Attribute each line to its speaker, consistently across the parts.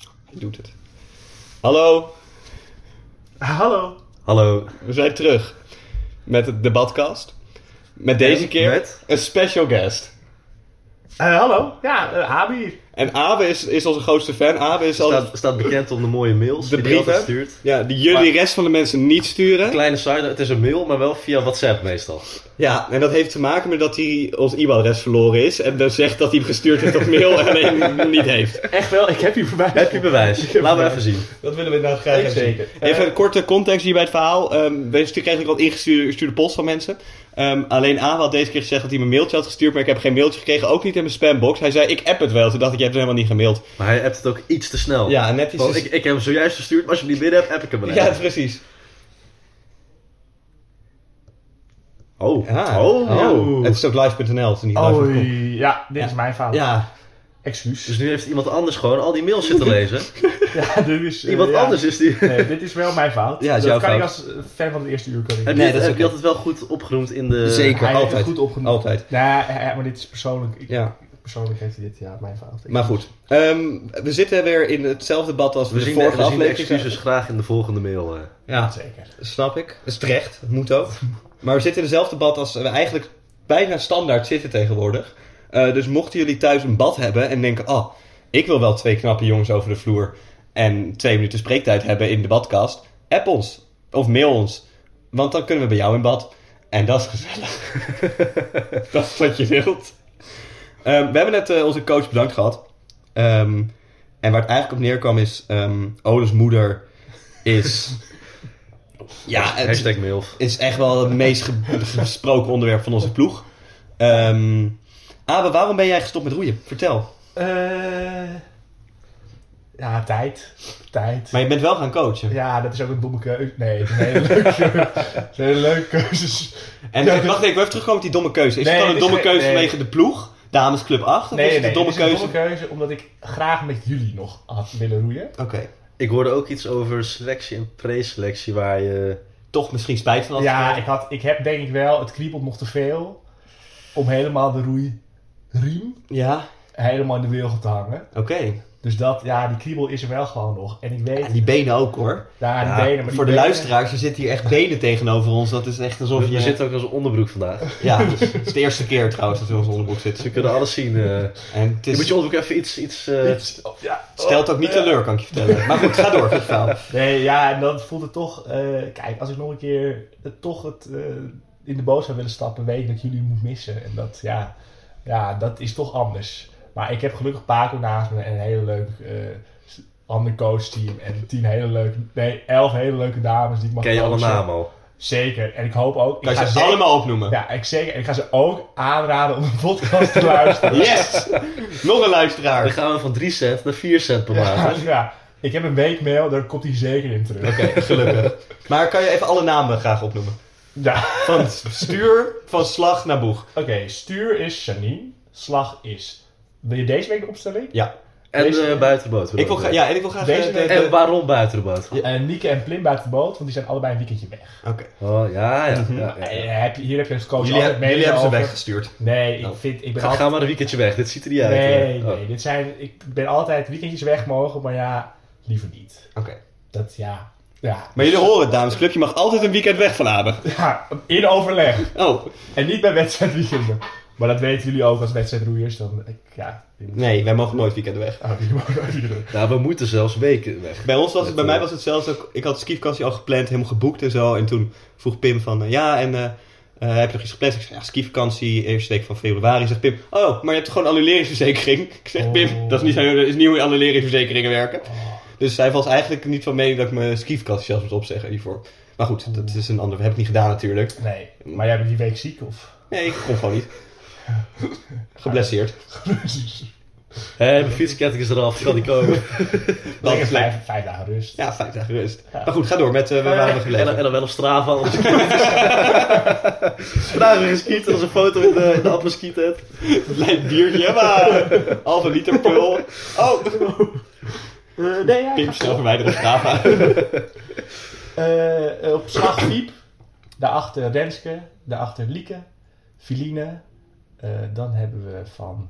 Speaker 1: Hij doet het. Hallo,
Speaker 2: Eh, Hallo.
Speaker 3: Hallo.
Speaker 1: we zijn terug met de debatcast. Met deze
Speaker 3: Met-
Speaker 1: keer
Speaker 3: met?
Speaker 1: een special guest.
Speaker 2: Eh, hallo. Ja, eh, Habi.
Speaker 1: En Abe is, is onze grootste fan. Abe is al
Speaker 3: Staat, staat bekend om de mooie mails
Speaker 1: de
Speaker 3: die hij altijd
Speaker 1: brieven
Speaker 3: stuurt.
Speaker 1: ja, die jullie
Speaker 3: Maar-
Speaker 1: de rest van de mensen niet sturen.
Speaker 3: Kleine side, het is een mail, maar wel via WhatsApp meestal.
Speaker 1: Ja, en dat heeft te maken met dat hij ons e-mailadres verloren is. En dan zegt dat hij hem gestuurd heeft op mail en alleen hem niet heeft.
Speaker 2: Echt wel, ik heb hier voorbij.
Speaker 3: Heb je bewijs? Laten we even zien.
Speaker 1: Dat willen we inderdaad graag
Speaker 2: Ik zeker.
Speaker 1: Even een korte context hier bij het verhaal. Ehm we stu- kregen wat ingestuurde post van mensen. Ehm, alleen A had deze keer gezegd dat hij me een mailtje had gestuurd, maar ik heb geen mailtje gekregen, ook niet in mijn spambox. Hij zei, ik app het wel. Toen dacht ik, je hebt het helemaal niet gemaild.
Speaker 3: Maar hij appt het ook iets te snel.
Speaker 1: Ja, en net iets...
Speaker 3: Want ik, ik heb hem zojuist gestuurd, maar als je hem niet binnen hebt, app ik hem wel
Speaker 1: ja,
Speaker 3: even.
Speaker 1: precies.
Speaker 3: Oh.
Speaker 1: Ja.
Speaker 3: oh.
Speaker 2: Oh.
Speaker 1: Het is ook live.nl, het is niet live.com.
Speaker 2: Oei. Ja, dit is mijn fout.
Speaker 1: Ja,
Speaker 2: Excuus.
Speaker 3: Dus nu heeft iemand anders gewoon al die mails zitten lezen.
Speaker 2: Ja, dit is... eh,
Speaker 3: Iemand
Speaker 2: ja.
Speaker 3: anders is die...
Speaker 2: Nee, dit is wel mijn fout.
Speaker 1: Ja, is
Speaker 2: dat
Speaker 1: jouw
Speaker 2: kan
Speaker 1: fout. Eh,
Speaker 2: ik als eh, fan van het eerste uur kan ik.
Speaker 3: Heb
Speaker 1: Nee,
Speaker 3: je,
Speaker 1: dat is
Speaker 3: heb
Speaker 1: oké.
Speaker 3: je altijd wel goed opgenoemd in de...
Speaker 1: Zeker.
Speaker 2: hij heeft het
Speaker 1: altijd.
Speaker 2: goed opgenomen.
Speaker 1: altijd.
Speaker 2: Nou, eh, maar dit is persoonlijk. Ik-
Speaker 1: Ja,
Speaker 2: Persoonlijk heeft hij dit, ja, mijn fout. Ik-
Speaker 1: maar goed. Ehm, we zitten weer in hetzelfde bad als
Speaker 3: We
Speaker 1: de
Speaker 3: zien de,
Speaker 1: vorige
Speaker 3: we zien de
Speaker 1: aflevering.
Speaker 3: excuses graag in de volgende mail. eh.
Speaker 1: Ja,
Speaker 2: Zeker.
Speaker 1: snap ik. Dat is terecht, dat moet ook. Maar we zitten in dezelfde bad als we eigenlijk bijna standaard zitten tegenwoordig. Eh, dus mochten jullie thuis een bad hebben en denken... ah, ik wil wel twee knappe jongens over de vloer... en twee minuten spreektijd hebben in de badkast... app ons of mail ons. Want dan kunnen we bij jou in bad. En dat is gezellig. dat is wat je wilt. Ehm, we hebben net eh, onze coach bedankt gehad. Ehm, en waar het eigenlijk op neerkwam is... ehm Oles moeder is... ja, het-
Speaker 3: Hashtag mail.
Speaker 1: is echt wel het meest ge- gesproken onderwerp van onze ploeg. Ehm Abe, waarom ben jij gestopt met roeien? Vertel.
Speaker 2: Eh, ja, tijd. Tijd.
Speaker 1: Maar je bent wel gaan coachen.
Speaker 2: Ja, dat is ook een domme keuze. Nee, het is een hele leuke het is een hele leuke keuzes.
Speaker 1: En
Speaker 2: Ja, dit-
Speaker 1: wacht even, ik wil even terugkomen op die domme keuze. Is
Speaker 2: Nee,
Speaker 1: het dan een
Speaker 2: dit is
Speaker 1: domme
Speaker 2: geen-
Speaker 1: keuze
Speaker 2: nee.
Speaker 1: vanwege de ploeg? Damesclub 8? Of is het een domme
Speaker 2: dit is
Speaker 1: keuze?
Speaker 2: een domme keuze omdat ik graag met jullie nog had willen roeien.
Speaker 1: Oké.
Speaker 3: Ik hoorde ook iets over selectie en preselectie waar je...
Speaker 1: Toch misschien spijt van had.
Speaker 2: ja,
Speaker 1: gekregen?
Speaker 2: ik, had, ik heb denk ik wel, het kriebelt nog te veel om helemaal de roeiriem
Speaker 1: Ja,
Speaker 2: helemaal in de wilgen te hangen.
Speaker 1: oké.
Speaker 2: Dus dat, ja, die kriebel is er wel gewoon nog. En ik weet,
Speaker 1: En die benen ook hoor.
Speaker 2: daar
Speaker 3: ja,
Speaker 2: die benen, maar die
Speaker 1: Voor de
Speaker 2: benen-
Speaker 1: luisteraars, je zit hier echt benen tegenover ons. Dat is echt alsof
Speaker 3: We,
Speaker 1: je...
Speaker 3: we zitten ook als een onderbroek vandaag.
Speaker 1: Ja, het is- het is de eerste keer trouwens dat we in onze onderbroek
Speaker 3: Dus
Speaker 1: zitten.
Speaker 3: we kunnen alles zien. eh.
Speaker 1: En het
Speaker 3: Je moet je
Speaker 1: is...
Speaker 3: onderbroek even iets... iets eh,
Speaker 2: Oh, ja.
Speaker 1: stelt ook niet
Speaker 2: Ja.
Speaker 1: teleur, kan ik je vertellen. Maar goed, ga door. Goed verhaal.
Speaker 2: Nee, ja, en dan voelt het toch... eh, kijk, als ik nog een keer het, toch het, eh, in de boot zou willen stappen... weet ik dat jullie moet missen. En dat, ja, ja, dat is toch anders. Maar ik heb gelukkig Paco naast me en een hele leuk... eh, ander coachteam en tien hele leuke... Nee, elf hele leuke dames die ik mag
Speaker 3: Ken je alle
Speaker 2: coachen.
Speaker 3: namen al?
Speaker 2: Zeker. En ik hoop ook... ik
Speaker 1: Kan
Speaker 2: ga
Speaker 1: je eh, ze
Speaker 2: zeker-
Speaker 1: allemaal opnoemen?
Speaker 2: Ja, ik zeker. En ik ga ze ook aanraden om een podcast te luisteren.
Speaker 1: Yes! Nog een
Speaker 3: Dan
Speaker 1: luisteraar.
Speaker 3: gaan we van 3 cent naar 4 cent per maand.
Speaker 2: Ja, ik heb een weekmail, daar komt hij zeker in terug.
Speaker 1: Oké, gelukkig. Maar kan je even alle namen graag opnoemen?
Speaker 2: Ja.
Speaker 1: Van stuur, van slag naar boeg.
Speaker 2: Oké, stuur is Janine. Slag is. Wil je deze week de opstelling?
Speaker 1: Ja.
Speaker 3: En
Speaker 2: Deze-
Speaker 3: eh, buiten de boot. wil
Speaker 1: Ik wil,
Speaker 3: ook
Speaker 1: gra-
Speaker 3: weten.
Speaker 1: ja, en ik wil graag...
Speaker 2: Deze
Speaker 1: eh, de- de-
Speaker 3: En waarom buiten de boot?
Speaker 2: Eh Nieke en Plim buiten de boot, want die zijn allebei een weekendje weg.
Speaker 1: Oké.
Speaker 3: Oh, ja, ja. ja, ja.
Speaker 2: Eh, heb je- hier heb je als coach
Speaker 1: Jullie,
Speaker 2: altijd
Speaker 1: hebben-
Speaker 2: mee
Speaker 1: jullie hebben ze
Speaker 2: over.
Speaker 1: weggestuurd.
Speaker 2: Nee, ik
Speaker 1: Oh.
Speaker 2: vind, ik ben
Speaker 3: Ga,
Speaker 2: altijd...
Speaker 3: ga maar een weekendje weg. Dit ziet er niet uit.
Speaker 2: nee,
Speaker 3: eh. Oh.
Speaker 2: nee, dit zijn, ik ben altijd weekendjes weg mogen, maar ja, liever niet.
Speaker 1: Oké.
Speaker 2: Dat, ja, ja,
Speaker 1: Maar jullie horen het, damesclub. Je mag altijd een weekend weg van Abe.
Speaker 2: ja in overleg.
Speaker 1: Oh.
Speaker 2: En niet bij wedstrijdweekenden. Maar dat weten jullie ook als wedstrijdroeiers, dan, ik, ja.
Speaker 1: Nee, wij mogen nooit weekend weg.
Speaker 2: Oh, jullie mogen ook niet doen.
Speaker 3: Nou, we moeten zelfs weken weg.
Speaker 1: Bij ons was het, bij
Speaker 3: Met,
Speaker 1: mij
Speaker 3: eh,
Speaker 1: was het zelfs ook... Ik had skivakantie al gepland, helemaal geboekt en zo. En toen vroeg Pim van... eh, ja, en... eh, eh, heb je nog iets gepland? Ik zei, ja, skivakantie, eerste week van februari. Zegt Pim, oh, maar je hebt gewoon annuleringsverzekering? Ik zeg,
Speaker 2: Oh.
Speaker 1: Pim, dat is niet, zo- dat is niet hoe annuleringsverzekeringen werken.
Speaker 2: Oh.
Speaker 1: Dus hij was eigenlijk niet van mening dat ik mijn skivakantie zelfs moet opzeggen hiervoor. Maar goed, dat is een ander. Heb ik niet gedaan natuurlijk.
Speaker 2: Nee, maar jij bent die week ziek, of?
Speaker 1: Nee, ik kon gewoon niet. Geblesseerd.
Speaker 3: Hé, mijn fietsketting is eraf. Kan die komen?
Speaker 1: Dat
Speaker 2: Lekker
Speaker 1: is leuk.
Speaker 2: vijf, vijf dagen rust.
Speaker 1: Ja, vijf dagen rust.
Speaker 2: Ja.
Speaker 1: Maar goed, ga door met eh, waar waren we
Speaker 3: en, dan,
Speaker 1: gebleven.
Speaker 3: en dan wel op Strava. anders- Vandaag weer geskiet. Dat is een foto in de, in de appelskiet.
Speaker 1: Klein biertje, maar halve liter pul. Oh,
Speaker 2: Eh, nee, ja,
Speaker 1: Pim, snel verwijderen Strava.
Speaker 2: Eh, eh, op slag Fiep. Daarachter Renske. Daarachter Lieke. Filine. Eh, dan hebben we van...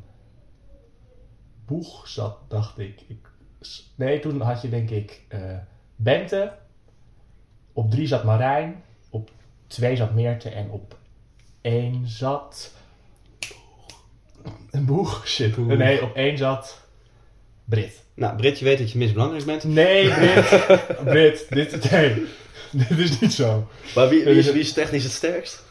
Speaker 2: Boeg zat, dacht ik. ik s- Nee, toen had je denk ik eh, Bente. Op drie zat Marijn. Op twee zat Meerte. En op één zat... Een boeg. Shit.
Speaker 3: Boeg.
Speaker 2: Nee, op één zat Brit.
Speaker 1: Nou, Brit, je weet dat je misbelangrijk bent.
Speaker 2: Nee, Brit. Brit. Dit, nee. dit is niet zo.
Speaker 3: Maar wie, wie, is, wie is technisch het sterkst?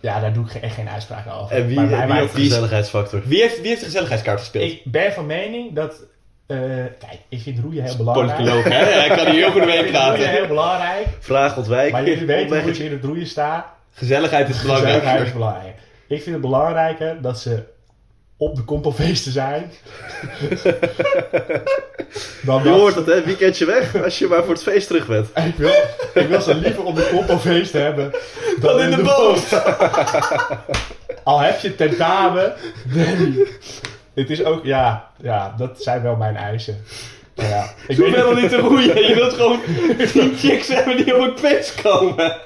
Speaker 2: Ja, daar doe ik echt geen uitspraken over.
Speaker 3: En wie,
Speaker 2: Maar mij
Speaker 3: wie
Speaker 2: maakt
Speaker 3: heeft de
Speaker 2: het-
Speaker 3: gezelligheidsfactor?
Speaker 1: Wie heeft, wie heeft de gezelligheidskaart gespeeld?
Speaker 2: Ik ben van mening dat... eh, kijk, ik vind roeien heel belangrijk.
Speaker 1: Politicoloog, hè? Hij kan hier heel goed mee
Speaker 2: Ik vind roeien
Speaker 1: praten.
Speaker 2: heel belangrijk.
Speaker 3: Vraag ontwijk.
Speaker 2: Maar jullie weten hoe ik
Speaker 3: Onweg-
Speaker 2: in het roeien sta.
Speaker 1: Gezelligheid is
Speaker 2: Gezelligheid is
Speaker 1: belangrijk.
Speaker 2: belangrijk. Ik vind het belangrijker dat ze op de kompelfeesten zijn. dan
Speaker 3: Je
Speaker 2: dat-
Speaker 3: hoort het, hè? Weekendje weg als je maar voor het feest terug bent.
Speaker 2: Ik wil, ik wil ze liever op de kompelfeesten hebben dan,
Speaker 1: Dan in de boot.
Speaker 2: Al heb je tentamen. Nee. Het is ook, ja, ja, dat zijn wel mijn eisen. Maar ja, ik
Speaker 1: Je
Speaker 2: weet
Speaker 1: bent
Speaker 2: niet-
Speaker 1: al niet te roeien. Je wilt gewoon tien chicks hebben die op het feest komen.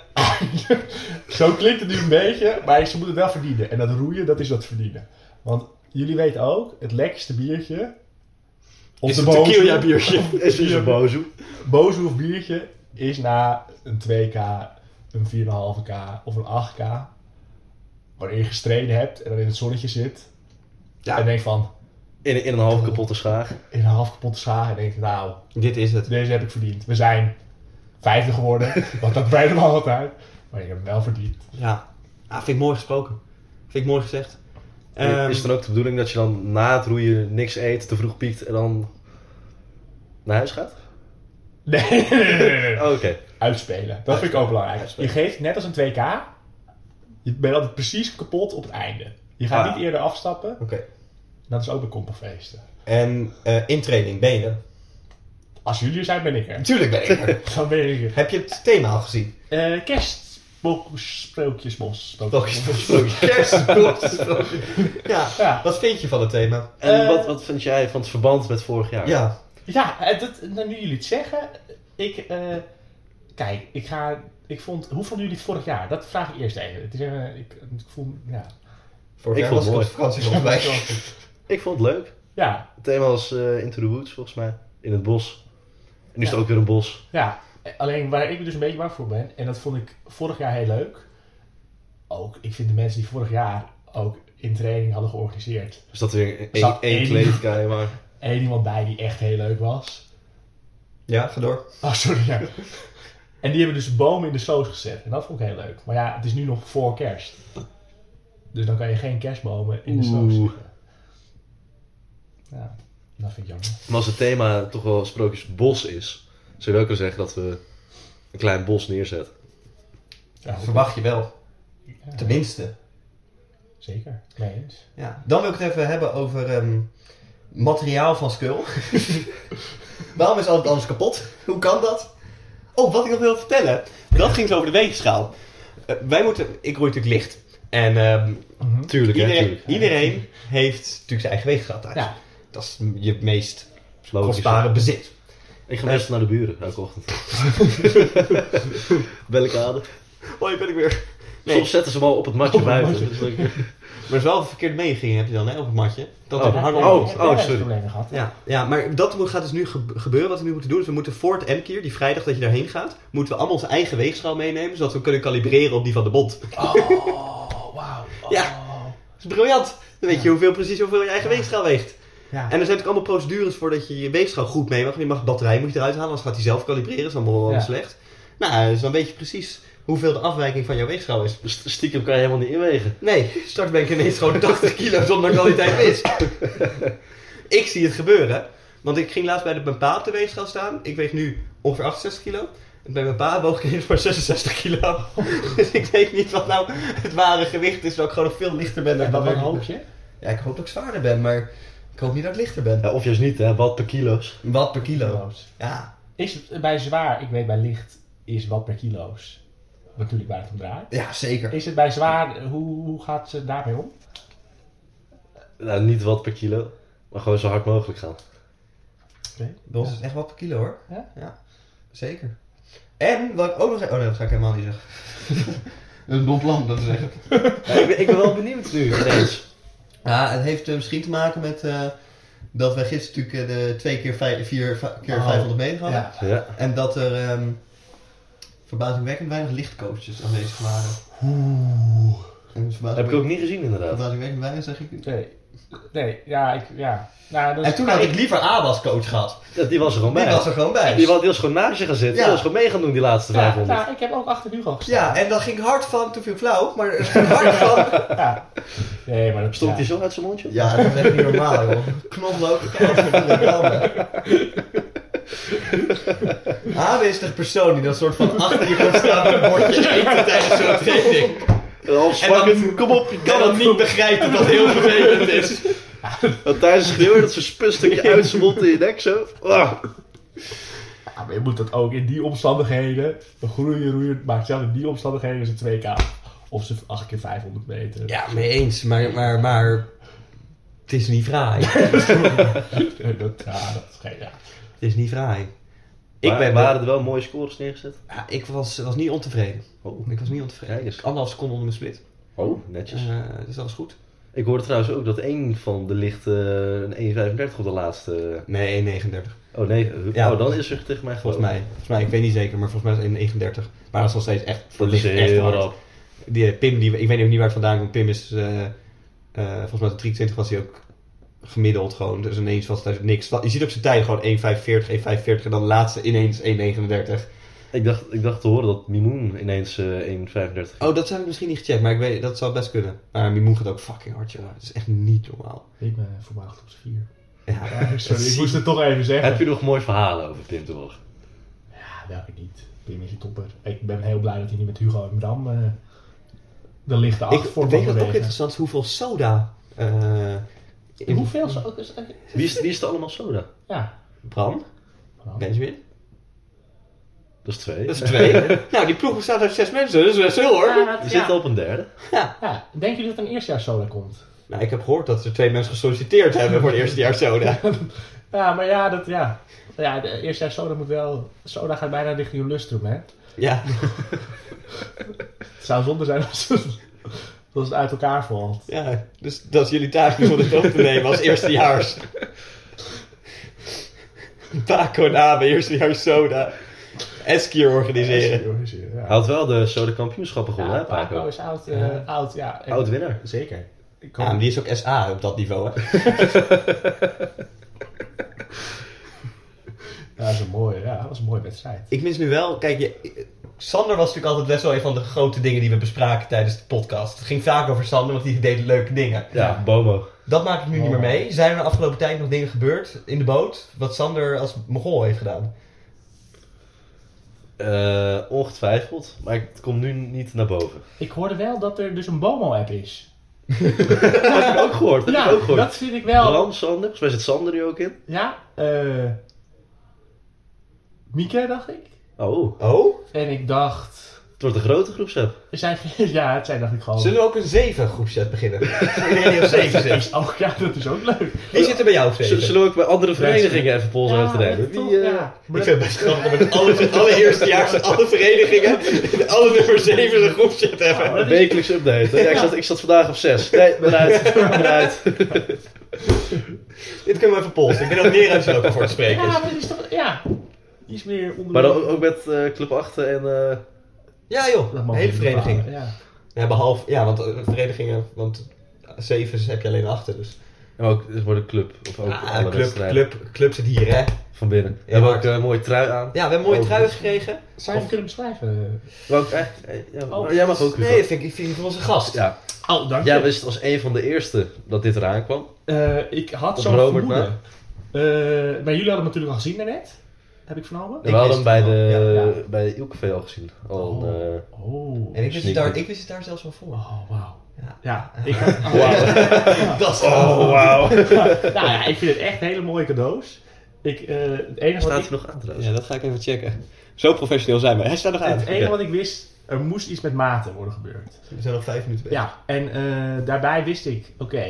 Speaker 2: Zo klinkt het nu een beetje, maar ze moeten het wel verdienen. En dat roeien, dat is dat verdienen. Want jullie weten ook, het lekkerste biertje... Op
Speaker 1: Is een tequila biertje.
Speaker 3: Is dus een bozo.
Speaker 2: Bozo of biertje is na een 2k, een 4,5k of een 8k... waarin je gestreden hebt en dan in het zonnetje zit...
Speaker 1: Ja.
Speaker 2: en denk van,
Speaker 3: In, in een half kapotte schaag.
Speaker 2: in een half kapotte schaar... en denk nou,
Speaker 1: Dit is het.
Speaker 2: deze heb ik verdiend. We zijn vijfde geworden, want dat breidt hem altijd. Maar ik heb hem wel verdiend.
Speaker 1: Ja. Ah, vind ik mooi gesproken. Vind ik mooi gezegd. Ehm,
Speaker 3: is het dan ook de bedoeling dat je dan na het roeien niks eet, te vroeg piekt en dan naar huis gaat? Oh,
Speaker 2: Nee, nee, nee, nee, nee.
Speaker 3: Oké.
Speaker 2: Uitspelen. Dat vind ik ook belangrijk.
Speaker 3: Uitspelen.
Speaker 2: Je geeft net als een 2K. Je bent altijd precies kapot op het einde. Je gaat
Speaker 1: Ah.
Speaker 2: niet eerder afstappen.
Speaker 1: Oké.
Speaker 2: Dat is ook bij kompelfeesten.
Speaker 1: En eh intraining, benen.
Speaker 2: Als jullie er zijn, ben ik er.
Speaker 1: Natuurlijk ben ik er.
Speaker 2: Dan ben ik er.
Speaker 1: Heb je het thema al gezien?
Speaker 2: Eh kerst. Sprookjesbos.
Speaker 1: Kerstblokjes. ja,
Speaker 2: Ja.
Speaker 1: wat vind je van het thema?
Speaker 3: En
Speaker 2: Eh,
Speaker 3: wat, wat vind jij van het verband met vorig jaar?
Speaker 1: Ja,
Speaker 2: Ja, eh, dat, nou, nu jullie het zeggen. Ik, eh, kijk, ik ga, ik vond, hoe vonden jullie het vorig jaar? Dat vraag ik eerst even. Het is, eh, ik, ik voel, ja.
Speaker 1: voor
Speaker 3: Ik vond het mooi.
Speaker 1: vakantie
Speaker 3: Ik vond het leuk.
Speaker 2: Ja,
Speaker 3: Het thema was eh, Into the Woods volgens mij. In het bos. En nu is
Speaker 2: Ja.
Speaker 3: het ook weer een bos.
Speaker 2: Ja, alleen waar ik dus een beetje bang voor ben, en dat vond ik vorig jaar heel leuk. Ook, ik vind de mensen die vorig jaar ook in training hadden georganiseerd.
Speaker 3: Dus dat weer één- één,
Speaker 2: Zat
Speaker 3: één
Speaker 2: één-
Speaker 3: kleedkamer. Maar...
Speaker 2: één iemand bij die echt heel leuk was.
Speaker 1: Ja, ga door.
Speaker 2: Oh, sorry. Ja. En die hebben dus bomen in de soos gezet. En dat vond ik heel leuk. Maar ja, het is nu nog voor kerst. Dus dan kan je geen kerstbomen in de soos
Speaker 3: Oeh.
Speaker 2: zetten. Ja, dat vind ik jammer.
Speaker 3: maar als het thema toch wel sprookjesbos is, zou je wel kunnen zeggen dat we een klein bos neerzetten.
Speaker 2: Ja,
Speaker 1: Verwacht je wel.
Speaker 2: ja,
Speaker 1: Tenminste.
Speaker 2: Zeker, mee eens.
Speaker 1: Ja. Dan wil ik het even hebben over ehm, materiaal van Skull. Waarom is alles anders kapot? Hoe kan dat? Oh, wat ik nog wil vertellen. Dat ging zo over de weegschaal. Eh, wij moeten... Ik roei natuurlijk licht. En ehm,
Speaker 3: Tuurlijk, hè?
Speaker 1: iedereen,
Speaker 3: Tuurlijk.
Speaker 1: iedereen heeft natuurlijk zijn eigen weegschaal thuis.
Speaker 2: Ja.
Speaker 1: Dat is je meest
Speaker 3: Logisch.
Speaker 1: kostbare bezit.
Speaker 3: Ik ga meestal naar de buren elke ochtend. Bel ik aan.
Speaker 1: Oh, hier ben ik weer. Nee.
Speaker 3: Soms zetten ze hem al op het matje
Speaker 2: Op het
Speaker 3: buiten.
Speaker 2: matje.
Speaker 3: Dus dan-
Speaker 1: Maar het is wel verkeerd meegingen heb je dan, hè, op het matje. Dat
Speaker 3: Oh.
Speaker 1: er hard
Speaker 3: Oh.
Speaker 1: op-
Speaker 2: Heb jij
Speaker 3: sorry.
Speaker 2: problemen gehad?
Speaker 1: Ja, ja, maar dat moet- gaat dus nu gebe- gebeuren. Wat we nu moeten doen, is we moeten voor het M-keer, die vrijdag dat je daarheen gaat, moeten we allemaal onze eigen weegschaal meenemen, zodat we kunnen kalibreren op die van de bond.
Speaker 2: Oh, wauw. Oh.
Speaker 1: Ja. Dat is briljant. Dan weet je hoeveel, precies hoeveel je eigen weegschaal weegt.
Speaker 2: Ja.
Speaker 1: En er zijn natuurlijk allemaal procedures voor dat je je weegschaal goed mee mag. Je mag de batterij moet je eruit halen, anders gaat hij zelf kalibreren. Dat is allemaal wel
Speaker 2: Ja.
Speaker 1: slecht. Nou, dus dan weet je precies hoeveel de afwijking van jouw weegschaal is.
Speaker 3: St- Stiekem kan je helemaal niet inwegen.
Speaker 1: Nee, straks ben ik ineens gewoon 80 kilo zonder kwaliteit mis. ik zie het gebeuren. Want ik ging laatst bij de, mijn pa op de weegschaal staan. Ik weeg nu ongeveer 68 kilo. En bij mijn pa woog ik eens maar 66 kilo. dus ik weet niet wat nou het ware gewicht is. Dat ik gewoon nog veel lichter ben dan
Speaker 2: En wat
Speaker 1: ik
Speaker 2: een
Speaker 1: hoop.
Speaker 2: hoopje?
Speaker 1: Ja, ik hoop dat ik zwaarder ben, maar ik hoop niet dat ik lichter ben.
Speaker 3: Ja, of juist niet, hè? Wat per kilo's.
Speaker 1: Wat per kilo.
Speaker 2: Kilo's.
Speaker 1: Ja,
Speaker 2: Is het bij zwaar, ik weet bij licht, is wat per kilo's natuurlijk waar het om draait.
Speaker 1: ja zeker.
Speaker 2: Is het bij zwaar, hoe, hoe gaat ze daarmee om?
Speaker 3: Nou, niet wat per kilo, maar gewoon zo hard mogelijk gaan.
Speaker 1: Bij ons is het echt wat per kilo hoor.
Speaker 2: Ja?
Speaker 1: Zeker. En wat ik ook nog zei... Oh nee, dat ga ik helemaal niet zeggen. dat is een dom plan, dat is echt...
Speaker 3: Ja, ik, ben, ik ben wel benieuwd nu. ineens.
Speaker 1: Ja, het heeft eh, misschien te maken met eh,
Speaker 4: dat wij gisteren natuurlijk eh, de 2 keer 5, 4 keer
Speaker 2: Oh.
Speaker 4: 500 meter hadden.
Speaker 2: Ja.
Speaker 3: Ja.
Speaker 4: En dat er ehm, verbazingwekkend weinig lichtcoaches aanwezig waren. En
Speaker 2: Oeh.
Speaker 3: Dat heb ik
Speaker 4: verbazingwekkend,
Speaker 3: ook niet gezien inderdaad.
Speaker 4: verbazingwekkend weinig zeg ik.
Speaker 2: Nee. Nee, ja, ik, ja. Nou, dat is-
Speaker 4: En toen had ik liever Abas coach gehad.
Speaker 3: Ja, die was er gewoon
Speaker 4: Die
Speaker 3: bij.
Speaker 4: was er gewoon bij.
Speaker 3: Oh, Die was, die was gewoon naast je gaan zitten.
Speaker 4: Ja.
Speaker 3: Die was gewoon mee gaan doen die laatste
Speaker 2: ja,
Speaker 3: 500.
Speaker 2: nou, ik heb ook achter Hugo
Speaker 4: Ja,
Speaker 2: gestaan.
Speaker 4: en dat ging hard van, toen viel flauw, maar het ging hard van.
Speaker 2: Ja. Nee, maar dat
Speaker 3: Stond
Speaker 2: ja.
Speaker 3: hij zo uit zijn mondje?
Speaker 4: Ja, dat is echt niet normaal, joh. Knoflook. Abe is de persoon die dat soort van achter je komt staan met een bordje eten tijdens zo'n training.
Speaker 3: Half
Speaker 4: En
Speaker 3: zwakkend.
Speaker 4: dan, kom op, je kan het niet begrijpen dat het heel vervelend is.
Speaker 3: Dat tijdens het schreeuwen dat ze spusstukje uit zijn mond in je nek zo. Ah.
Speaker 2: Ja, maar je moet dat ook in die omstandigheden. De groeien, roeien, maar zelfs in die omstandigheden is het 2K. Of ze 8 keer 500 meter.
Speaker 1: Ja, mee eens, maar, maar, maar het is niet fraai. het
Speaker 2: dat, ja, dat is geen. Ja.
Speaker 1: is niet fraai.
Speaker 3: Ik
Speaker 1: Ik, ben,
Speaker 3: waren er wel mooie scores neergezet.
Speaker 1: ja, ik was, was niet ontevreden.
Speaker 3: Oh,
Speaker 1: Ik was niet ontevreden.
Speaker 3: Kijk eens.
Speaker 1: Ik Anderhalf seconde onder mijn split.
Speaker 3: oh netjes.
Speaker 1: Eh, dus dat was goed.
Speaker 3: Ik hoorde trouwens ook dat één van de lichten een 1,35 op de laatste.
Speaker 1: Nee, 39.
Speaker 3: Oh nee,
Speaker 1: Ja.
Speaker 3: oh, dan is er tegen mij
Speaker 1: Volgens mij. Volgens mij, ik weet niet zeker, maar volgens mij is het 39. Maar dat is nog steeds echt
Speaker 3: Dat is
Speaker 1: verlicht echt
Speaker 3: heel
Speaker 1: hard.
Speaker 3: rap.
Speaker 1: Die eh, Pim, die, ik weet ook niet waar het vandaan komt. Pim is, eh, eh, volgens mij op 23 was hij ook gemiddeld gewoon. Dus ineens was het niks. Je ziet op zijn tijd gewoon 1,45, 1,45 en dan laatste ineens 1,39.
Speaker 3: Ik dacht, ik dacht te horen dat Mimoen ineens eh 1,35.
Speaker 1: Oh, dat heb ik misschien niet gecheckt, maar ik weet, dat zou best kunnen. Maar Mimoen gaat ook fucking hard, jongen. Dat is echt niet normaal.
Speaker 2: Ik ben voormalig op z'n vier.
Speaker 1: Ja.
Speaker 2: sorry, ik moest het toch even zeggen.
Speaker 3: Heb je nog mooi verhalen over Tim Terwog?
Speaker 2: Ja, welke niet. Pim is een topper. Ik ben heel blij dat hij niet met Hugo en Bram eh, de lichte
Speaker 1: Ik
Speaker 2: acht voor
Speaker 1: weet dat ook interessant is hoeveel soda... eh, in-
Speaker 3: Hm.
Speaker 2: Hoeveel ze ook is.
Speaker 3: Wie is, wie is er allemaal soda?
Speaker 2: Ja.
Speaker 1: Bram,
Speaker 2: Bram.
Speaker 1: Benjamin.
Speaker 3: Dat is twee.
Speaker 1: Dat is twee. nou, die ploeg bestaat uit zes mensen, dus dat is veel hoor.
Speaker 2: Ja, dat-
Speaker 3: Je
Speaker 2: ja.
Speaker 3: zit al op een derde.
Speaker 2: Ja, Denken jullie dat een eerstejaars soda komt?
Speaker 1: Nou, ik heb gehoord dat er twee mensen gesolliciteerd hebben voor het eerste jaar soda.
Speaker 2: Ja, maar ja, dat ja. Ja, de eerstejaars soda moet wel. Soda gaat bijna richting een lustrum, hè?
Speaker 1: Ja,
Speaker 2: Het zou zonde zijn als het, als het uit elkaar valt.
Speaker 1: ja. Dus dat is jullie taak nu om het op te nemen als eerstejaars. Paco en Abe, eerstejaars soda. S-keer organiseren.
Speaker 3: Hij
Speaker 2: Ja.
Speaker 3: had wel de soda kampioenschappen gewonnen,
Speaker 2: Ja,
Speaker 3: hè Paco?
Speaker 2: is oud, eh,
Speaker 1: Ja.
Speaker 2: oud, ja. En-
Speaker 3: Oud winnaar.
Speaker 2: Zeker. Ik
Speaker 1: Ja,
Speaker 2: hoop-
Speaker 1: maar die is ook SA op dat niveau, hè?
Speaker 2: Ja, dat is een mooie, ja, dat was een mooie wedstrijd.
Speaker 1: Ik mis nu wel, kijk, je, Sander was natuurlijk altijd best wel een van de grote dingen die we bespraken tijdens de podcast. Het ging vaak over Sander, want die deed leuke dingen.
Speaker 3: Ja, Bomo.
Speaker 1: Dat maak ik nu niet meer mee. Zijn er de afgelopen tijd nog dingen gebeurd in de boot, wat Sander als mogol heeft gedaan?
Speaker 3: Eh, ongetwijfeld, maar het komt nu niet naar boven.
Speaker 2: Ik hoorde wel dat er dus een BOMO-app is.
Speaker 3: Dat heb ik ook gehoord. Dat heb
Speaker 2: ja,
Speaker 3: ik ook gehoord.
Speaker 2: Nou, dat vind ik wel.
Speaker 3: Bram, Sander, volgens mij zit Sander nu ook in.
Speaker 2: Ja, eh... Mieke, dacht ik.
Speaker 3: Oh,
Speaker 1: Oh?
Speaker 2: En ik dacht...
Speaker 3: het wordt een grote groepsapp.
Speaker 2: Er zijn, geen- ja, het zijn dacht ik gewoon...
Speaker 1: Zullen we ook een 7 groepset beginnen? Voor iedereen die op 7
Speaker 2: Dat
Speaker 1: zit.
Speaker 2: is ook, Oh, ja, dat is ook leuk.
Speaker 1: Wie zit er bij jou op
Speaker 3: Z-
Speaker 1: 7?
Speaker 3: Zullen we ook bij andere verenigingen even polsen
Speaker 2: ja,
Speaker 3: uit te nemen?
Speaker 2: dat toch,
Speaker 3: Wie, eh,
Speaker 2: ja.
Speaker 1: Ik vind het best grappig met alle, alle eerstejaars, alle verenigingen, alle nummer 7 een groepset hebben.
Speaker 2: Maar dat
Speaker 3: Een
Speaker 2: is-
Speaker 3: wekelijks update. hè? Ja, ik, zat, ik zat vandaag op 6. Nee, eruit. eruit.
Speaker 1: Dit kunnen we even polsen. Ik ben ook meer uitgelopen voor het
Speaker 2: Ja,
Speaker 1: spreken.
Speaker 2: maar dat is toch... Ja. Iets meer onder...
Speaker 3: Maar dan ook- ook met eh, Club 8 en... eh,
Speaker 1: Ja
Speaker 2: Dat
Speaker 1: joh,
Speaker 2: mag
Speaker 1: de hele
Speaker 2: ik
Speaker 1: vereniging.
Speaker 2: bepalen, Ja.
Speaker 1: Ja, behalve, ja, want eh, verenigingen, want 7 heb je alleen achter. Dus.
Speaker 3: en ook, het wordt een club. Of ook
Speaker 1: Ah,
Speaker 3: alle
Speaker 1: club,
Speaker 3: wedstrijden
Speaker 1: club, club zit hier hè.
Speaker 3: van binnen. We
Speaker 1: Ja,
Speaker 3: hebben
Speaker 1: maar-
Speaker 3: ook eh, een mooie trui aan.
Speaker 1: Ja, we hebben mooie
Speaker 3: Oh,
Speaker 1: truien
Speaker 3: dat-
Speaker 1: gekregen.
Speaker 2: Zou je hem kunnen beschrijven?
Speaker 3: Maar ook echt... eh, ja,
Speaker 2: Oh.
Speaker 3: maar Jij mag ook, Hugo.
Speaker 1: Nee, Dus dat vind ik, vind ik voor onze gast.
Speaker 3: Ja,
Speaker 2: Oh, dank
Speaker 3: jij
Speaker 2: je.
Speaker 3: wist als een van de eerste dat dit eraan kwam.
Speaker 2: Eh, ik had
Speaker 3: Of
Speaker 2: zo'n
Speaker 3: Robert,
Speaker 2: vermoeden. Eh, maar jullie hadden hem natuurlijk al gezien daarnet. Heb ik vernomen?
Speaker 3: We hadden
Speaker 1: wist
Speaker 3: hem bij
Speaker 1: het
Speaker 3: de,
Speaker 1: wel,
Speaker 2: ja, ja.
Speaker 3: bij de Ilkevee al gezien. Al
Speaker 2: Oh.
Speaker 3: een, eh,
Speaker 2: Oh.
Speaker 1: En ik wist, het
Speaker 3: Sneaker.
Speaker 1: daar, ik wist het daar zelfs wel voor.
Speaker 2: Oh, wauw.
Speaker 1: Ja.
Speaker 2: Ja. ik had... oh,
Speaker 1: Dat is
Speaker 3: Oh, wauw.
Speaker 2: nou ja, ik vind het echt hele mooie cadeaus. Ik, eh, het enige
Speaker 3: Staat
Speaker 2: wat
Speaker 3: hij
Speaker 2: ik,
Speaker 3: nog aan trouwens?
Speaker 1: Ja, dat ga ik even checken. Zo professioneel zijn we. Hij staat nog aan.
Speaker 2: het enige wat ik wist, er moest iets met maten worden gebeurd.
Speaker 1: We zijn nog vijf minuten bezig.
Speaker 2: Ja, en eh, daarbij wist ik, oké,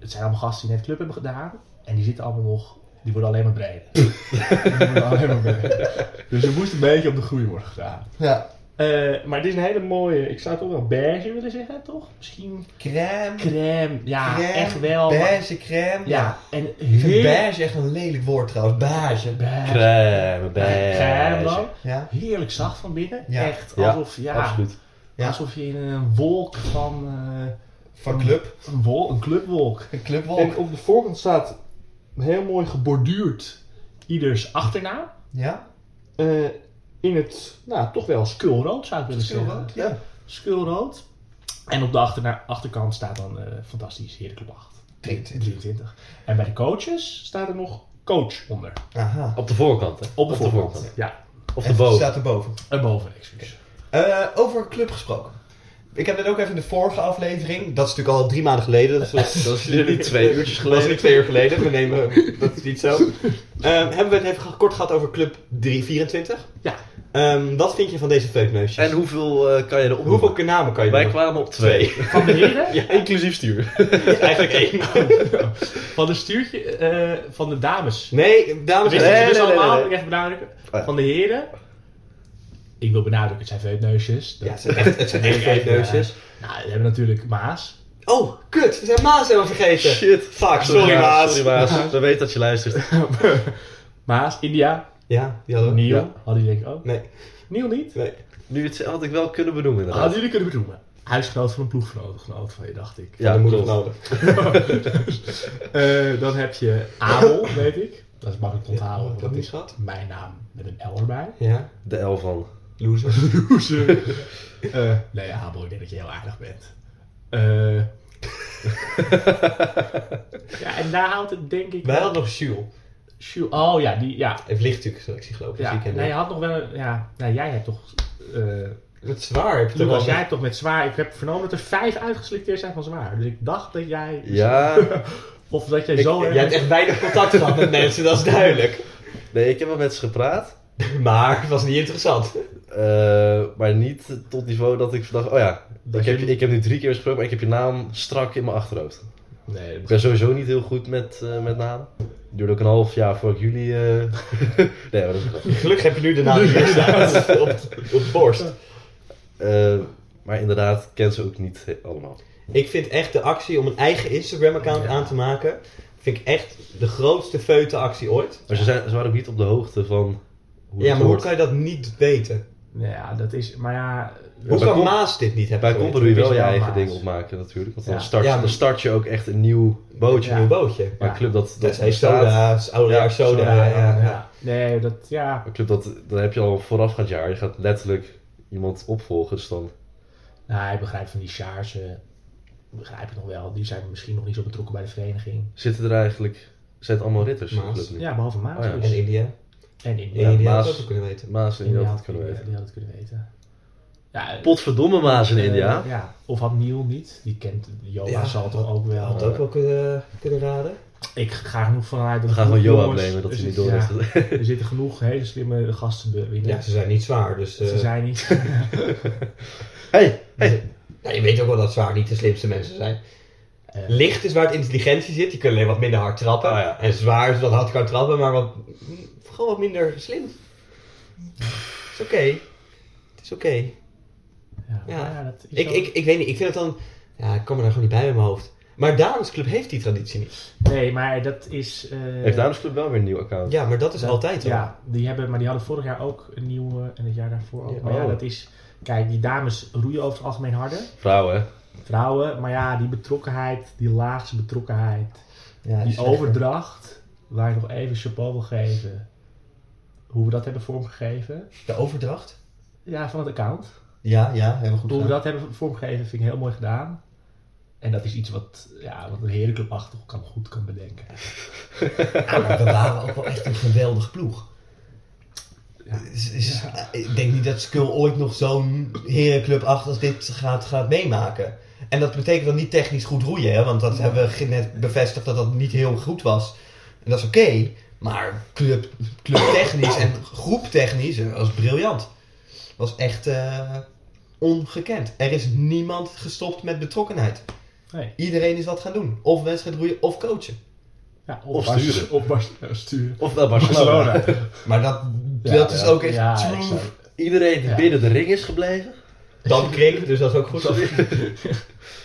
Speaker 2: het zijn allemaal gasten die net club hebben gedaan. En die zitten allemaal nog, die worden alleen maar breder. die worden alleen maar breder. Dus er moest een beetje op de groei worden gedaan.
Speaker 1: Ja.
Speaker 2: Eh, maar dit is een hele mooie, ik zou toch wel beige willen zeggen, toch? Misschien
Speaker 1: Crème.
Speaker 2: crème, ja,
Speaker 1: crème,
Speaker 2: echt wel. maar-
Speaker 1: Beige crème.
Speaker 2: ja, en
Speaker 1: Ik vind
Speaker 2: heel
Speaker 1: beige echt een lelijk woord trouwens. Beige.
Speaker 2: beige.
Speaker 3: Crème,
Speaker 2: Crème dan.
Speaker 3: beige.
Speaker 1: Ja.
Speaker 2: Heerlijk zacht van binnen.
Speaker 1: Ja.
Speaker 2: Echt
Speaker 3: Ja,
Speaker 2: alsof, ja,
Speaker 3: Absoluut.
Speaker 1: Ja.
Speaker 2: alsof je in een wolk van, eh,
Speaker 1: Van club.
Speaker 2: een, wol, een clubwolk.
Speaker 1: Een
Speaker 2: En
Speaker 1: clubwolk.
Speaker 2: op de voorkant staat heel mooi geborduurd ieders achternaam.
Speaker 1: Ja.
Speaker 2: Eh, in het, nou toch wel skulrood zou ik willen zeggen.
Speaker 1: Stilrood. Ja.
Speaker 2: Skulrood. En op de achterna- achterkant staat dan eh, fantastisch Heracles 8.
Speaker 1: 23.
Speaker 2: 23. En bij de coaches staat er nog coach onder.
Speaker 1: Aha.
Speaker 3: Op de voorkant, hè?
Speaker 2: Op de voorkant.
Speaker 3: voorkant.
Speaker 2: Ja,
Speaker 3: Of
Speaker 1: En
Speaker 3: de boven.
Speaker 1: staat erboven.
Speaker 2: en boven, excuus.
Speaker 1: Eh, over club gesproken. Ik heb dit ook even in de vorige aflevering. Dat is natuurlijk al drie maanden geleden. Dat was,
Speaker 3: Dat is jullie twee uurtjes
Speaker 1: dat was
Speaker 3: geleden.
Speaker 1: niet twee uur geleden. We nemen, dat is niet zo. Ehm, hebben we het even ge- kort gehad over Club 324?
Speaker 2: Ja.
Speaker 1: Ehm, wat vind je van deze feutneusjes?
Speaker 3: En hoeveel eh, kan je erop
Speaker 1: hoeveel namen kan je
Speaker 3: Wij
Speaker 1: doen?
Speaker 3: kwamen op twee.
Speaker 2: Van de heren,
Speaker 3: Ja, inclusief stuur.
Speaker 1: Eigenlijk één.
Speaker 2: van de stuurtje, eh, van de dames.
Speaker 1: Nee, dames
Speaker 2: Wist
Speaker 1: en
Speaker 2: je
Speaker 1: heren.
Speaker 2: het dus
Speaker 1: nee, nee,
Speaker 2: allemaal?
Speaker 1: nee, Oh
Speaker 2: Ik
Speaker 1: nee.
Speaker 2: even benadrukken.
Speaker 3: ja.
Speaker 2: Van de heren. Ik wil benadrukken, het zijn veutneusjes.
Speaker 1: Ja,
Speaker 2: Dat,
Speaker 1: het zijn echt, het zijn echt feutneusjes.
Speaker 2: nou, we hebben natuurlijk Maas.
Speaker 1: Oh, kut. We zijn Maas helemaal vergeten.
Speaker 3: Shit.
Speaker 1: Fuck, sorry Maas.
Speaker 3: Sorry Maas. We weten dat je luistert.
Speaker 2: Maas, India,
Speaker 1: Ja, die hadden we.
Speaker 2: Neil.
Speaker 3: Ja.
Speaker 2: Hadden jullie denk ik ook.
Speaker 1: Nee.
Speaker 2: Neil niet?
Speaker 1: nee.
Speaker 3: Nu het had ik wel kunnen benoemen inderdaad.
Speaker 2: Hadden jullie kunnen benoemen. Huisgenoot van een ploeggenoot genoot van je, dacht ik.
Speaker 1: Ja, dan moet het
Speaker 3: klopt.
Speaker 1: nodig.
Speaker 2: Eh, dan heb je Abel, weet ik. Dat is makkelijk te onthouden.
Speaker 1: Ja, dat
Speaker 2: want dat
Speaker 1: niet
Speaker 2: is
Speaker 1: gehad.
Speaker 2: mijn naam met een L erbij.
Speaker 1: Ja.
Speaker 3: De L van.
Speaker 1: Loser.
Speaker 2: Loser. Eh, nee, Abel, ik denk dat je heel aardig bent. Eh. ja, en daar houdt het denk ik...
Speaker 1: Wij
Speaker 2: wel-
Speaker 1: hadden nog Jules.
Speaker 2: Sjoe- Oh ja, die, ja.
Speaker 1: Heeft lichtstukken selectie geloopen.
Speaker 2: ja.
Speaker 1: Dus die
Speaker 2: Nee, je
Speaker 1: kennen
Speaker 2: had nog wel een... Ja, nou, jij hebt toch... eh
Speaker 1: we. Het zwaar heb je toch
Speaker 2: Lucas,
Speaker 1: wel.
Speaker 2: jij hebt toch met zwaar... Ik heb vernomen dat er vijf uitgeselecteerd zijn van zwaar. Dus ik dacht dat jij...
Speaker 3: Ja,
Speaker 2: Of dat jij
Speaker 1: Ik-
Speaker 2: zo... erg-
Speaker 1: jij hebt echt weinig contact gehad met mensen, dat is duidelijk.
Speaker 3: nee, ik heb wel met ze gepraat.
Speaker 1: Maar het was niet interessant.
Speaker 3: eh, maar niet tot niveau dat ik dacht, oh ja,
Speaker 2: Dat
Speaker 3: ik, heb,
Speaker 2: je-
Speaker 3: je- ik heb nu drie keer gesproken, maar ik heb je naam strak in mijn achterhoofd.
Speaker 2: Nee,
Speaker 3: Ik ben sowieso niet heel goed met, eh, met namen. Het duurde ook een half jaar voordat ik jullie... eh, nee, maar dat is een
Speaker 1: Gelukkig heb je nu de naam die hier staat op, op de borst.
Speaker 3: grap. Eh, Maar inderdaad, ik ken ze ook niet he- allemaal.
Speaker 1: Ik vind echt de actie om een eigen Instagram-account
Speaker 2: Ja.
Speaker 1: aan te maken... vind ik echt de grootste feute actie ooit.
Speaker 3: Maar ze, zijn, ze waren ook niet op de hoogte van hoe
Speaker 1: Ja,
Speaker 3: het
Speaker 1: maar hoe
Speaker 3: hoort.
Speaker 1: kan je dat niet weten?
Speaker 2: Nou ja, dat is. Maar ja. eh,
Speaker 1: Hoe
Speaker 3: bij
Speaker 1: kan
Speaker 3: Kom-
Speaker 1: Maas dit niet hebben
Speaker 3: Bij
Speaker 1: geweten?
Speaker 3: Komper doe je wel
Speaker 2: is
Speaker 3: je
Speaker 2: wel
Speaker 3: eigen
Speaker 2: maat.
Speaker 3: ding opmaken natuurlijk. Want dan,
Speaker 2: Ja.
Speaker 3: start,
Speaker 1: Ja, maar-
Speaker 3: dan start je ook echt een nieuw bootje.
Speaker 2: Ja.
Speaker 1: Een bootje.
Speaker 3: Maar
Speaker 2: Ja.
Speaker 3: een club dat, dat
Speaker 1: Dat is
Speaker 3: bestaat-
Speaker 1: soda's, oudejaars
Speaker 3: Ja,
Speaker 1: soda. Ja, ja,
Speaker 2: Nee, dat. Ja.
Speaker 3: Een club dat, dan heb je al een voorafgaand jaar. Je gaat letterlijk iemand opvolgen. Dus dan
Speaker 2: Nou, ik begrijp van die Sjaars. eh, begrijp ik nog wel. Die zijn misschien nog niet zo betrokken bij de vereniging.
Speaker 3: zitten er eigenlijk... Zijn het allemaal ritters? in de
Speaker 1: Maas.
Speaker 3: club nu?
Speaker 2: Ja, behalve Maas.
Speaker 3: Oh ja.
Speaker 2: dus.
Speaker 1: En India.
Speaker 2: En in
Speaker 1: Ja,
Speaker 3: Ja,
Speaker 1: India had
Speaker 3: Maas-
Speaker 1: het ook kunnen weten.
Speaker 3: Maas in
Speaker 2: India
Speaker 3: India had
Speaker 2: had
Speaker 3: het kunnen
Speaker 2: die-
Speaker 3: weten.
Speaker 2: Die had het kunnen weten. Ja, eh,
Speaker 3: Potverdomme Maas in India.
Speaker 2: eh, ja. Of had Neil niet. Die kent. Joa
Speaker 1: Ja,
Speaker 2: zal toch ook wel.
Speaker 1: Had ook wel kunnen, kunnen raden.
Speaker 2: Ik ga er genoeg vanuit.
Speaker 3: We gaan gewoon Johan blamen dat hij niet door heeft.
Speaker 2: Er zitten genoeg hele slimme gasten binnen.
Speaker 1: Ja, ze zijn niet zwaar, dus... eh,
Speaker 2: Ze zijn niet.
Speaker 3: Hey,
Speaker 1: Nou, je weet ook wel dat zwaar niet de slimste mensen zijn.
Speaker 2: Eh.
Speaker 1: Licht is waar het intelligentie zit. Die kunnen alleen wat minder hard trappen.
Speaker 3: Ah, ja.
Speaker 1: En zwaar is wat hard kan trappen, maar wat, mm, gewoon wat minder slim. Het is oké. Het is oké.
Speaker 2: Ja,
Speaker 1: Ja.
Speaker 2: maar ja, dat is
Speaker 1: Ik,
Speaker 2: ook-
Speaker 1: ik, ik weet niet, ik vind het dan... Ja, ik kan me daar gewoon niet bij in mijn hoofd. Maar Dames Club heeft die traditie niet.
Speaker 2: Nee, maar dat is. eh,
Speaker 3: Heeft Dames Club wel weer een nieuw account?
Speaker 1: Ja, maar dat is altijd al.
Speaker 2: Ja, die hebben, maar die hadden vorig jaar ook een nieuwe en het jaar daarvoor ook.
Speaker 1: Ja,
Speaker 2: maar ja,
Speaker 3: oh.
Speaker 2: dat is... Kijk, die dames roeien over het algemeen harder.
Speaker 3: Vrouwen, hè?
Speaker 2: Vrouwen, maar ja, die betrokkenheid, die laagste betrokkenheid,
Speaker 1: Ja,
Speaker 2: die
Speaker 1: dus-
Speaker 2: overdracht, waar ik nog even chapeau wil geven. Hoe we dat hebben vormgegeven.
Speaker 1: De overdracht?
Speaker 2: Ja, van het account.
Speaker 1: Ja, ja, helemaal goed
Speaker 2: Hoe we
Speaker 1: gedaan.
Speaker 2: dat hebben vormgegeven vind ik heel mooi gedaan. En dat is iets wat, ja, wat een herenclubachtig kan goed kan bedenken.
Speaker 1: Ja, maar we waren ook wel echt een geweldige ploeg.
Speaker 2: Ja.
Speaker 1: Is- is- Ik denk niet dat Skull ooit nog zo'n herenclub achter als dit gaat, gaat meemaken. En dat betekent dan niet technisch goed roeien, hè? want dat hebben we ge- net bevestigd dat dat niet heel goed was. En dat is oké, maar club, clubtechnisch en groeptechnisch eh, was briljant. Was echt eh, ongekend. Er is niemand gestopt met betrokkenheid.
Speaker 2: Nee.
Speaker 1: Iedereen is wat gaan doen. Of wedstrijd roeien of coachen.
Speaker 2: Ja,
Speaker 3: Of
Speaker 2: Bars-
Speaker 3: sturen.
Speaker 2: Of Bars- sturen.
Speaker 3: Of wel Barcelona.
Speaker 2: Barcelona.
Speaker 1: Maar dat,
Speaker 2: Ja,
Speaker 1: Dus dat is
Speaker 2: ja.
Speaker 1: ook echt
Speaker 2: Ja,
Speaker 1: true,
Speaker 2: exact.
Speaker 3: Iedereen die
Speaker 2: Ja.
Speaker 3: binnen de ring is gebleven.
Speaker 1: Dan kring, dus dat is ook goed.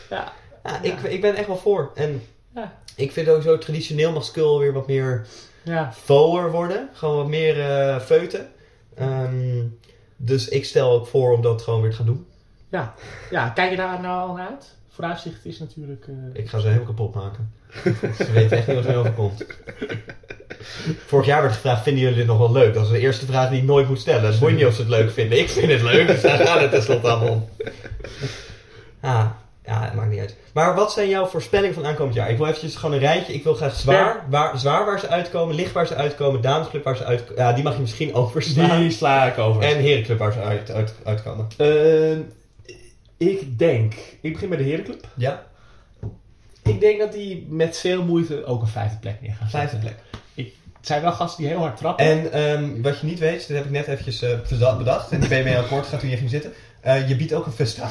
Speaker 2: Ja.
Speaker 1: Ja, ik, ik ben echt wel voor. En
Speaker 2: Ja.
Speaker 1: ik vind ook zo traditioneel mag Skull weer wat meer
Speaker 2: Ja.
Speaker 1: voer worden. Gewoon wat meer eh, feuten. Ehm, dus ik stel ook voor om dat gewoon weer te gaan doen.
Speaker 2: Ja. ja, kijk je daar nou al naar uit? Vooruitzicht is natuurlijk... eh,
Speaker 1: Ik ga ze helemaal kapot maken. Ze weten echt niet wat er overkomt. Vorig jaar werd gevraagd, vinden jullie dit nog wel leuk? Dat is de eerste vraag die ik nooit moet stellen. Het boeit niet of ze het leuk vinden. Ik vind het leuk, dus daar gaat het tenslotte allemaal om. Ah, ja, het maakt niet uit. Maar wat zijn jouw voorspellingen van aankomend jaar? Ik wil eventjes gewoon een rijtje. Ik wil graag zwaar, waar, zwaar waar ze uitkomen, licht waar ze uitkomen, damesclub waar ze uitkomen. Ja, die mag je misschien overslaan.
Speaker 2: die sla ik over.
Speaker 1: En herenclub waar ze uit, uit, uitkomen.
Speaker 2: Ehm, ik denk... Ik begin bij de Herenclub.
Speaker 1: Ja,
Speaker 2: Ik denk dat die met veel moeite ook een vijfde plek neer gaan
Speaker 1: vijfde
Speaker 2: zetten.
Speaker 1: plek.
Speaker 2: Het zijn wel gasten die heel hard trappen.
Speaker 1: En ehm, wat je niet weet, dit heb ik net eventjes eh, verza- bedacht. En die ben je mee akkoord gaat toen je ging zitten. Eh, je biedt ook een vest aan.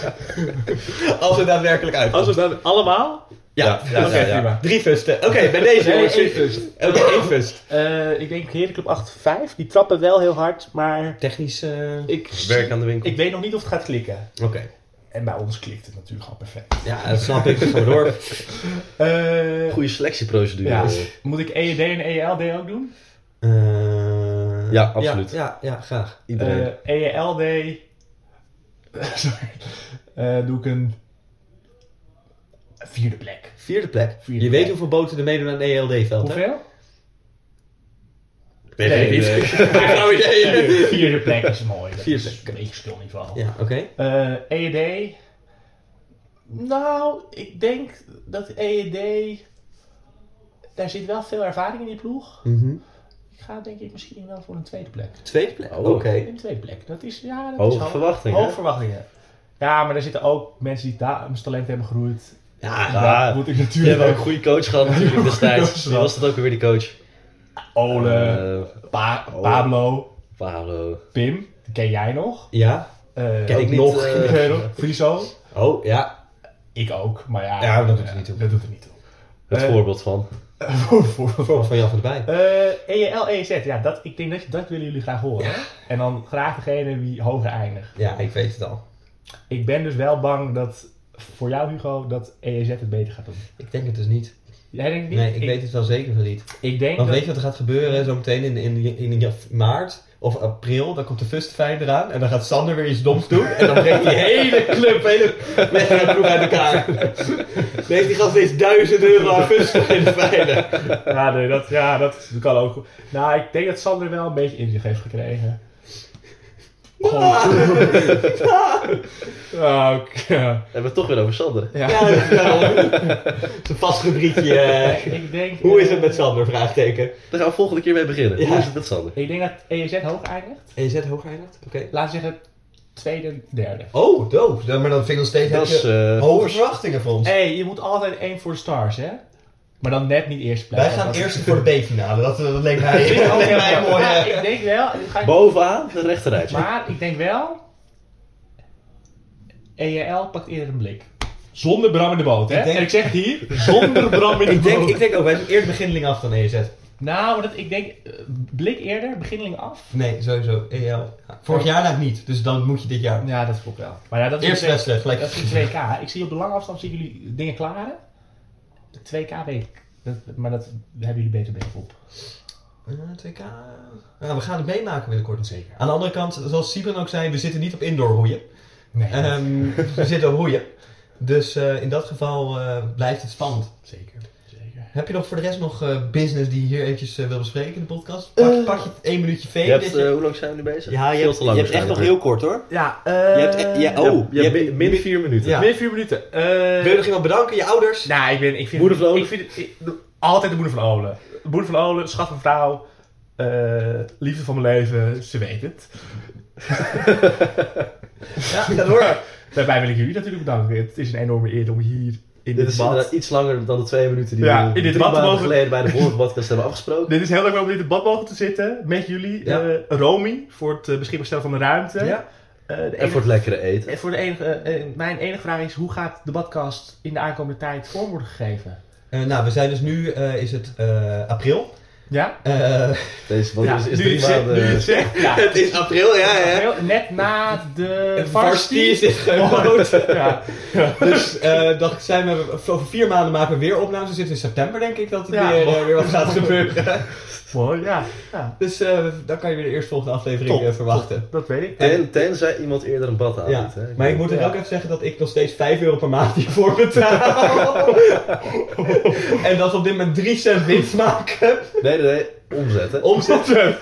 Speaker 1: Als het daadwerkelijk uitkomt.
Speaker 2: Als we dan allemaal...
Speaker 1: Ja, ja, ja,
Speaker 2: Oké,
Speaker 1: ja.
Speaker 2: prima.
Speaker 1: Drie vesten. Oké, bij deze
Speaker 2: Nee,
Speaker 1: jongens.
Speaker 2: één vest.
Speaker 1: Oké, één vest.
Speaker 2: Eh, ik denk Herenclub 8-5. Die trappen wel heel hard, maar
Speaker 1: Technisch... eh,
Speaker 2: ik,
Speaker 3: Werk aan de winkel.
Speaker 2: ik weet nog niet of het gaat klikken.
Speaker 1: Oké.
Speaker 2: En bij ons klikt het natuurlijk gewoon perfect.
Speaker 1: Ja, dat snap ik. Gewoon door.
Speaker 2: Eh,
Speaker 3: Goede selectieprocedure.
Speaker 2: Ja.
Speaker 3: eh.
Speaker 2: Moet ik EED en E ELD ook doen?
Speaker 1: Eh,
Speaker 3: Ja, absoluut.
Speaker 1: Ja, ja, ja, graag.
Speaker 3: Iedereen.
Speaker 2: Eh ELD. Sorry. Eh, doe ik een vierde plek.
Speaker 1: Vierde plek.
Speaker 2: Vierde
Speaker 1: je
Speaker 2: plek.
Speaker 1: weet hoeveel boten er meedoen aan een ELD-veld, hè?
Speaker 2: Hoeveel?
Speaker 3: weet
Speaker 2: nee,
Speaker 3: ik
Speaker 2: niet.
Speaker 3: niet. Geen idee.
Speaker 2: Eh, vierde plek is mooi. Dat
Speaker 1: Vierde
Speaker 2: is een beetje skillniveau.
Speaker 1: Ja, oké.
Speaker 2: Eh, EED. Nou, ik denk dat EED. Daar zit wel veel ervaring in die ploeg.
Speaker 1: Mhm.
Speaker 2: Ik ga denk ik misschien wel voor een tweede plek.
Speaker 1: Tweede plek.
Speaker 3: Oh.
Speaker 1: Oké.
Speaker 2: Een tweede plek. Dat is, ja, dat
Speaker 3: Hoge
Speaker 2: is hoog.
Speaker 3: verwachtingen.
Speaker 2: Hoge verwachtingen. Ja, maar er zitten ook mensen die dames talent hebben gegroeid.
Speaker 1: Ja,
Speaker 3: Ja,
Speaker 2: Dat moet ik
Speaker 3: we hebben ook
Speaker 2: natuurlijk
Speaker 3: een goede coach gehad natuurlijk destijds. Wie was dat ook alweer die coach?
Speaker 2: Ole,
Speaker 3: Eh,
Speaker 2: Pa-
Speaker 3: Ole.
Speaker 2: Pablo,
Speaker 3: Pablo.
Speaker 2: Pim, die ken jij nog.
Speaker 1: Ja.
Speaker 2: Eh,
Speaker 1: Ken ik
Speaker 2: ook
Speaker 1: niet,
Speaker 2: nog.
Speaker 1: eh,
Speaker 2: Pedro, Friso.
Speaker 1: Oh, ja.
Speaker 2: Ik ook, maar ja.
Speaker 1: Ja, maar dat doet
Speaker 2: eh,
Speaker 1: er niet toe.
Speaker 2: Dat doet er niet toe.
Speaker 3: Het
Speaker 2: Eh,
Speaker 3: voorbeeld van.
Speaker 2: Voor- voor- voor-
Speaker 1: Van Jan van der Bij.
Speaker 2: Eh, EEL, EEZ, ja, dat, ik denk dat, dat willen jullie graag horen. En dan graag degene die hoger eindigt.
Speaker 1: Ja, ik weet het al.
Speaker 2: Ik ben dus wel bang dat, voor jou Hugo, dat E EEZ het beter gaat doen.
Speaker 1: Ik denk het dus niet.
Speaker 2: Jij denkt niet?
Speaker 1: Nee, ik, weet het wel zeker van niet.
Speaker 2: ik denk
Speaker 1: Want
Speaker 2: dat...
Speaker 1: weet je wat er gaat gebeuren zometeen in, in, in, in maart of april? Dan komt de Fustfijn eraan en dan gaat Sander weer iets doms doen. En dan brengt die hele club, hele wedstrijdploeg uit elkaar. Nee, die gast steeds duizend euro aan Fustfijn fijne.
Speaker 2: Ja, nee, dat, ja, dat kan ook. Nou, ik denk dat Sander wel een beetje inzicht heeft gekregen.
Speaker 1: Ah.
Speaker 2: Gewoon. Ja,
Speaker 1: Oh,
Speaker 2: oké. ja.
Speaker 3: Hebben we het toch weer over Sander.
Speaker 1: Ja, dat is wel een vast rubriekje. eh,
Speaker 2: Ik denk,
Speaker 1: Hoe is
Speaker 2: eh,
Speaker 1: het met Sander? Vraagteken.
Speaker 3: Daar gaan we volgende keer mee beginnen.
Speaker 1: Ja.
Speaker 3: Hoe is het met Sander?
Speaker 2: Ik denk dat E EZ hoog eindigt.
Speaker 1: EZ hoog eindigt? Oké.
Speaker 2: Laat zeggen, tweede, derde.
Speaker 1: Oh, doof. Ja, Maar dan vind ik nog steeds
Speaker 3: Dat
Speaker 1: heb
Speaker 3: is...
Speaker 1: je
Speaker 3: eh,
Speaker 1: hoge verwachtingen voor ons.
Speaker 2: Hé, hey, je moet altijd één voor de stars, hè? Maar dan net niet eerst
Speaker 1: Wij gaan eerst voor de B-finale. Dat, eh, dat leek mij, dat leek mij een mooie...
Speaker 2: Ja, ik denk wel. ik ga-
Speaker 3: bovenaan de rechterrijtje.
Speaker 2: Maar ik denk wel. EJL pakt eerder een blik. Zonder Bram in de boot, hè?
Speaker 1: Ik denk-
Speaker 2: En ik zeg het hier, zonder Bram in de
Speaker 1: Ik denk,
Speaker 2: boot.
Speaker 1: ik denk ook, wij zijn eerder beginneling af dan E EZ.
Speaker 2: Nou, maar dat, ik denk, eh, blik eerder, beginneling af.
Speaker 1: Nee, sowieso. EL. Vorig jaar namelijk niet, dus dan moet je dit jaar.
Speaker 2: Ja, dat klopt wel. Maar ja, dat is
Speaker 1: Eerste
Speaker 2: een twee-
Speaker 1: wedstrijd, gelijk.
Speaker 2: Dat is een 2K. Ik zie op de lange afstand zien jullie dingen klaren. De 2K weet ik. Dat, maar dat daar hebben jullie beter blik op.
Speaker 1: Eh, 2K. Ja, we gaan het meemaken binnenkort.
Speaker 2: Zeker.
Speaker 1: Aan de andere kant, zoals Siepen ook zei, we zitten niet op indoor roeien.
Speaker 2: Nee,
Speaker 1: Ehm, we zitten op roeien. Dus eh, in dat geval eh, blijft het spannend.
Speaker 2: zeker. zeker.
Speaker 1: Heb je nog voor de rest nog eh, business die je hier eventjes eh, wil bespreken in de podcast? Pak, pak je één minuutje
Speaker 3: Je
Speaker 1: vee.
Speaker 3: hebt,
Speaker 1: dit
Speaker 3: eh,
Speaker 1: je-
Speaker 3: hoe lang zijn we nu bezig?
Speaker 1: ja, je
Speaker 3: Veel
Speaker 1: hebt,
Speaker 3: te lang
Speaker 1: je hebt echt
Speaker 3: waarschijnlijk.
Speaker 1: nog heel kort hoor.
Speaker 2: Ja, eh,
Speaker 5: Je hebt echt- ja,
Speaker 3: Ja,
Speaker 5: oh,
Speaker 3: je hebt min- min vier minuten.
Speaker 1: Ja.
Speaker 2: Meer vier minuten. Eh,
Speaker 1: Wil je nog iemand bedanken? Je ouders?
Speaker 2: Nou, ik, ben, ik vind
Speaker 3: Moeder van Olen?
Speaker 2: Ik vind het, ik- altijd de moeder van Olen. De moeder van Olen, schat van vrouw. eh, liefde van mijn leven, ze weet het.
Speaker 1: Ja, ga door.
Speaker 2: Daarbij wil ik jullie natuurlijk bedanken. Het is een enorme eer om hier in dit
Speaker 3: Dit is
Speaker 2: bad...
Speaker 3: inderdaad iets langer dan de twee minuten die
Speaker 2: Ja,
Speaker 3: we
Speaker 2: in dit
Speaker 3: drie
Speaker 2: bad
Speaker 3: maanden
Speaker 2: mogen-
Speaker 3: geleden bij de vorige podcast hebben afgesproken.
Speaker 2: Dit is heel leuk om in dit bad mogen te zitten met jullie.
Speaker 1: Ja.
Speaker 2: Eh, Romy voor het eh, beschikbaar stellen van de ruimte.
Speaker 1: Ja.
Speaker 2: Eh, de enige-
Speaker 3: En voor het lekkere eten.
Speaker 2: en voor de enige, eh, mijn enige vraag is, hoe gaat de badcast in de aankomende tijd vorm worden gegeven?
Speaker 1: Eh, nou, we zijn dus nu, eh, is het eh, april.
Speaker 2: Ja?
Speaker 1: Eh,
Speaker 3: Deze want
Speaker 2: ja,
Speaker 3: is, is
Speaker 2: nu
Speaker 3: drie
Speaker 2: je het zegt- nu je
Speaker 3: maanden...
Speaker 2: het zegt, ja.
Speaker 6: Het is april, ja, hè?
Speaker 2: Heel- Net na de
Speaker 1: varsity is dit
Speaker 2: Goed,
Speaker 1: geüpload.
Speaker 2: ja.
Speaker 1: Dus eh dan zijn we, over vier maanden maken we weer opnames. Dan zitten we in september, denk ik, dat het
Speaker 2: Ja.
Speaker 1: weer, eh, weer wat gaat gebeuren.
Speaker 2: Mooi, ja. ja.
Speaker 1: Dus eh, dan kan je weer de eerstvolgende aflevering
Speaker 2: Top,
Speaker 1: eh, verwachten.
Speaker 2: Dat weet ik.
Speaker 3: Ten, tenzij iemand eerder een bad
Speaker 1: Ja,
Speaker 3: aanbiedt. hè.
Speaker 1: maar ik moet er
Speaker 2: Ja.
Speaker 1: ook even zeggen dat ik nog steeds 5 euro per maand hiervoor betaal. en dat we op dit moment 3 cent winst maken.
Speaker 3: Nee, nee, nee. Omzet, hè.
Speaker 1: Omzet.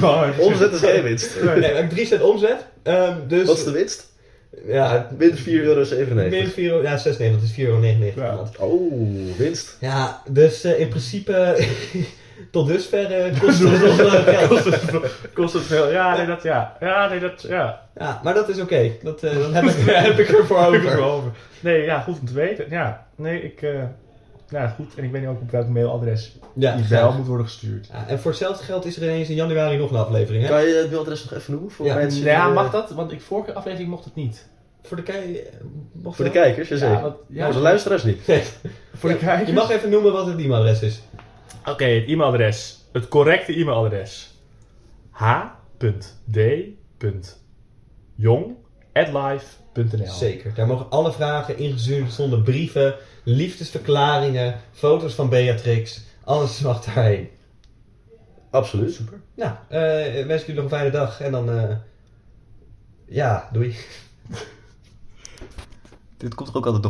Speaker 2: Mooi.
Speaker 3: Omzet is geen winst.
Speaker 1: Nee, maar 3 cent omzet. Ehm, dus,
Speaker 3: Wat is de winst?
Speaker 1: Ja,
Speaker 3: Min 4,97 euro.
Speaker 1: min 4 euro. Ja, 6, nee, dat is 4,99 euro per
Speaker 2: Ja.
Speaker 1: maand.
Speaker 3: Oh, winst.
Speaker 1: Ja, dus eh, in principe tot dusver eh, kost het nog wel geld.
Speaker 2: Kost het- Kost het veel. Ja, nee, dat ja. Ja, nee, dat ja.
Speaker 1: Ja, maar dat is oké. Dat, eh, dat heb, ik, heb ik ervoor
Speaker 2: Heb ik er
Speaker 1: over.
Speaker 2: wel over. Nee, ja, goed om te weten. Ja, nee, ik. eh ja, goed. En ik weet niet ook op welk mailadres
Speaker 1: Ja,
Speaker 2: die wel moet worden gestuurd.
Speaker 1: ja, en voor hetzelfde geld is er ineens in januari nog een aflevering, hè?
Speaker 3: Kan je het mailadres nog even noemen? Voor
Speaker 1: Ja.
Speaker 3: mensen die,
Speaker 2: Ja,
Speaker 3: eh,
Speaker 2: mag dat? Want ik vorige aflevering mocht het niet.
Speaker 1: Voor de kei... mocht
Speaker 3: Voor de
Speaker 1: wel?
Speaker 3: kijkers, jazeker.
Speaker 2: Ja, want- ja.
Speaker 3: Voor de luisteraars niet.
Speaker 2: Voor de kijkers.
Speaker 1: Je mag even noemen wat het e-mailadres is.
Speaker 2: Oké, het e-mailadres. Het correcte e-mailadres. h.d.jong.live.nl Nou.
Speaker 1: Zeker. Daar mogen alle vragen ingezuurd zonder brieven, liefdesverklaringen, foto's van Beatrix. Alles mag daarheen.
Speaker 3: Absoluut. Super.
Speaker 1: Nou, eh wens ik jullie nog een fijne dag. En dan... eh, ja, doei.
Speaker 6: Dit komt er ook altijd nog